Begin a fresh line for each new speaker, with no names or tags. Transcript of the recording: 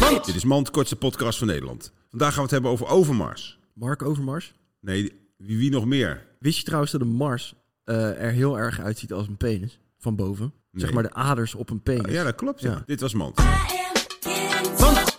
Mand! Dit is Mand, kortste podcast van Nederland. Vandaag gaan we het hebben over Overmars.
Mark Overmars.
Nee, wie, wie nog meer?
Wist je trouwens dat een Mars eh, er heel erg uitziet als een penis? Van boven. Zeg maar de aders op een penis.
Ah, Ja, dat klopt. ja.
Ja.
Dit was Mand.
I am getting too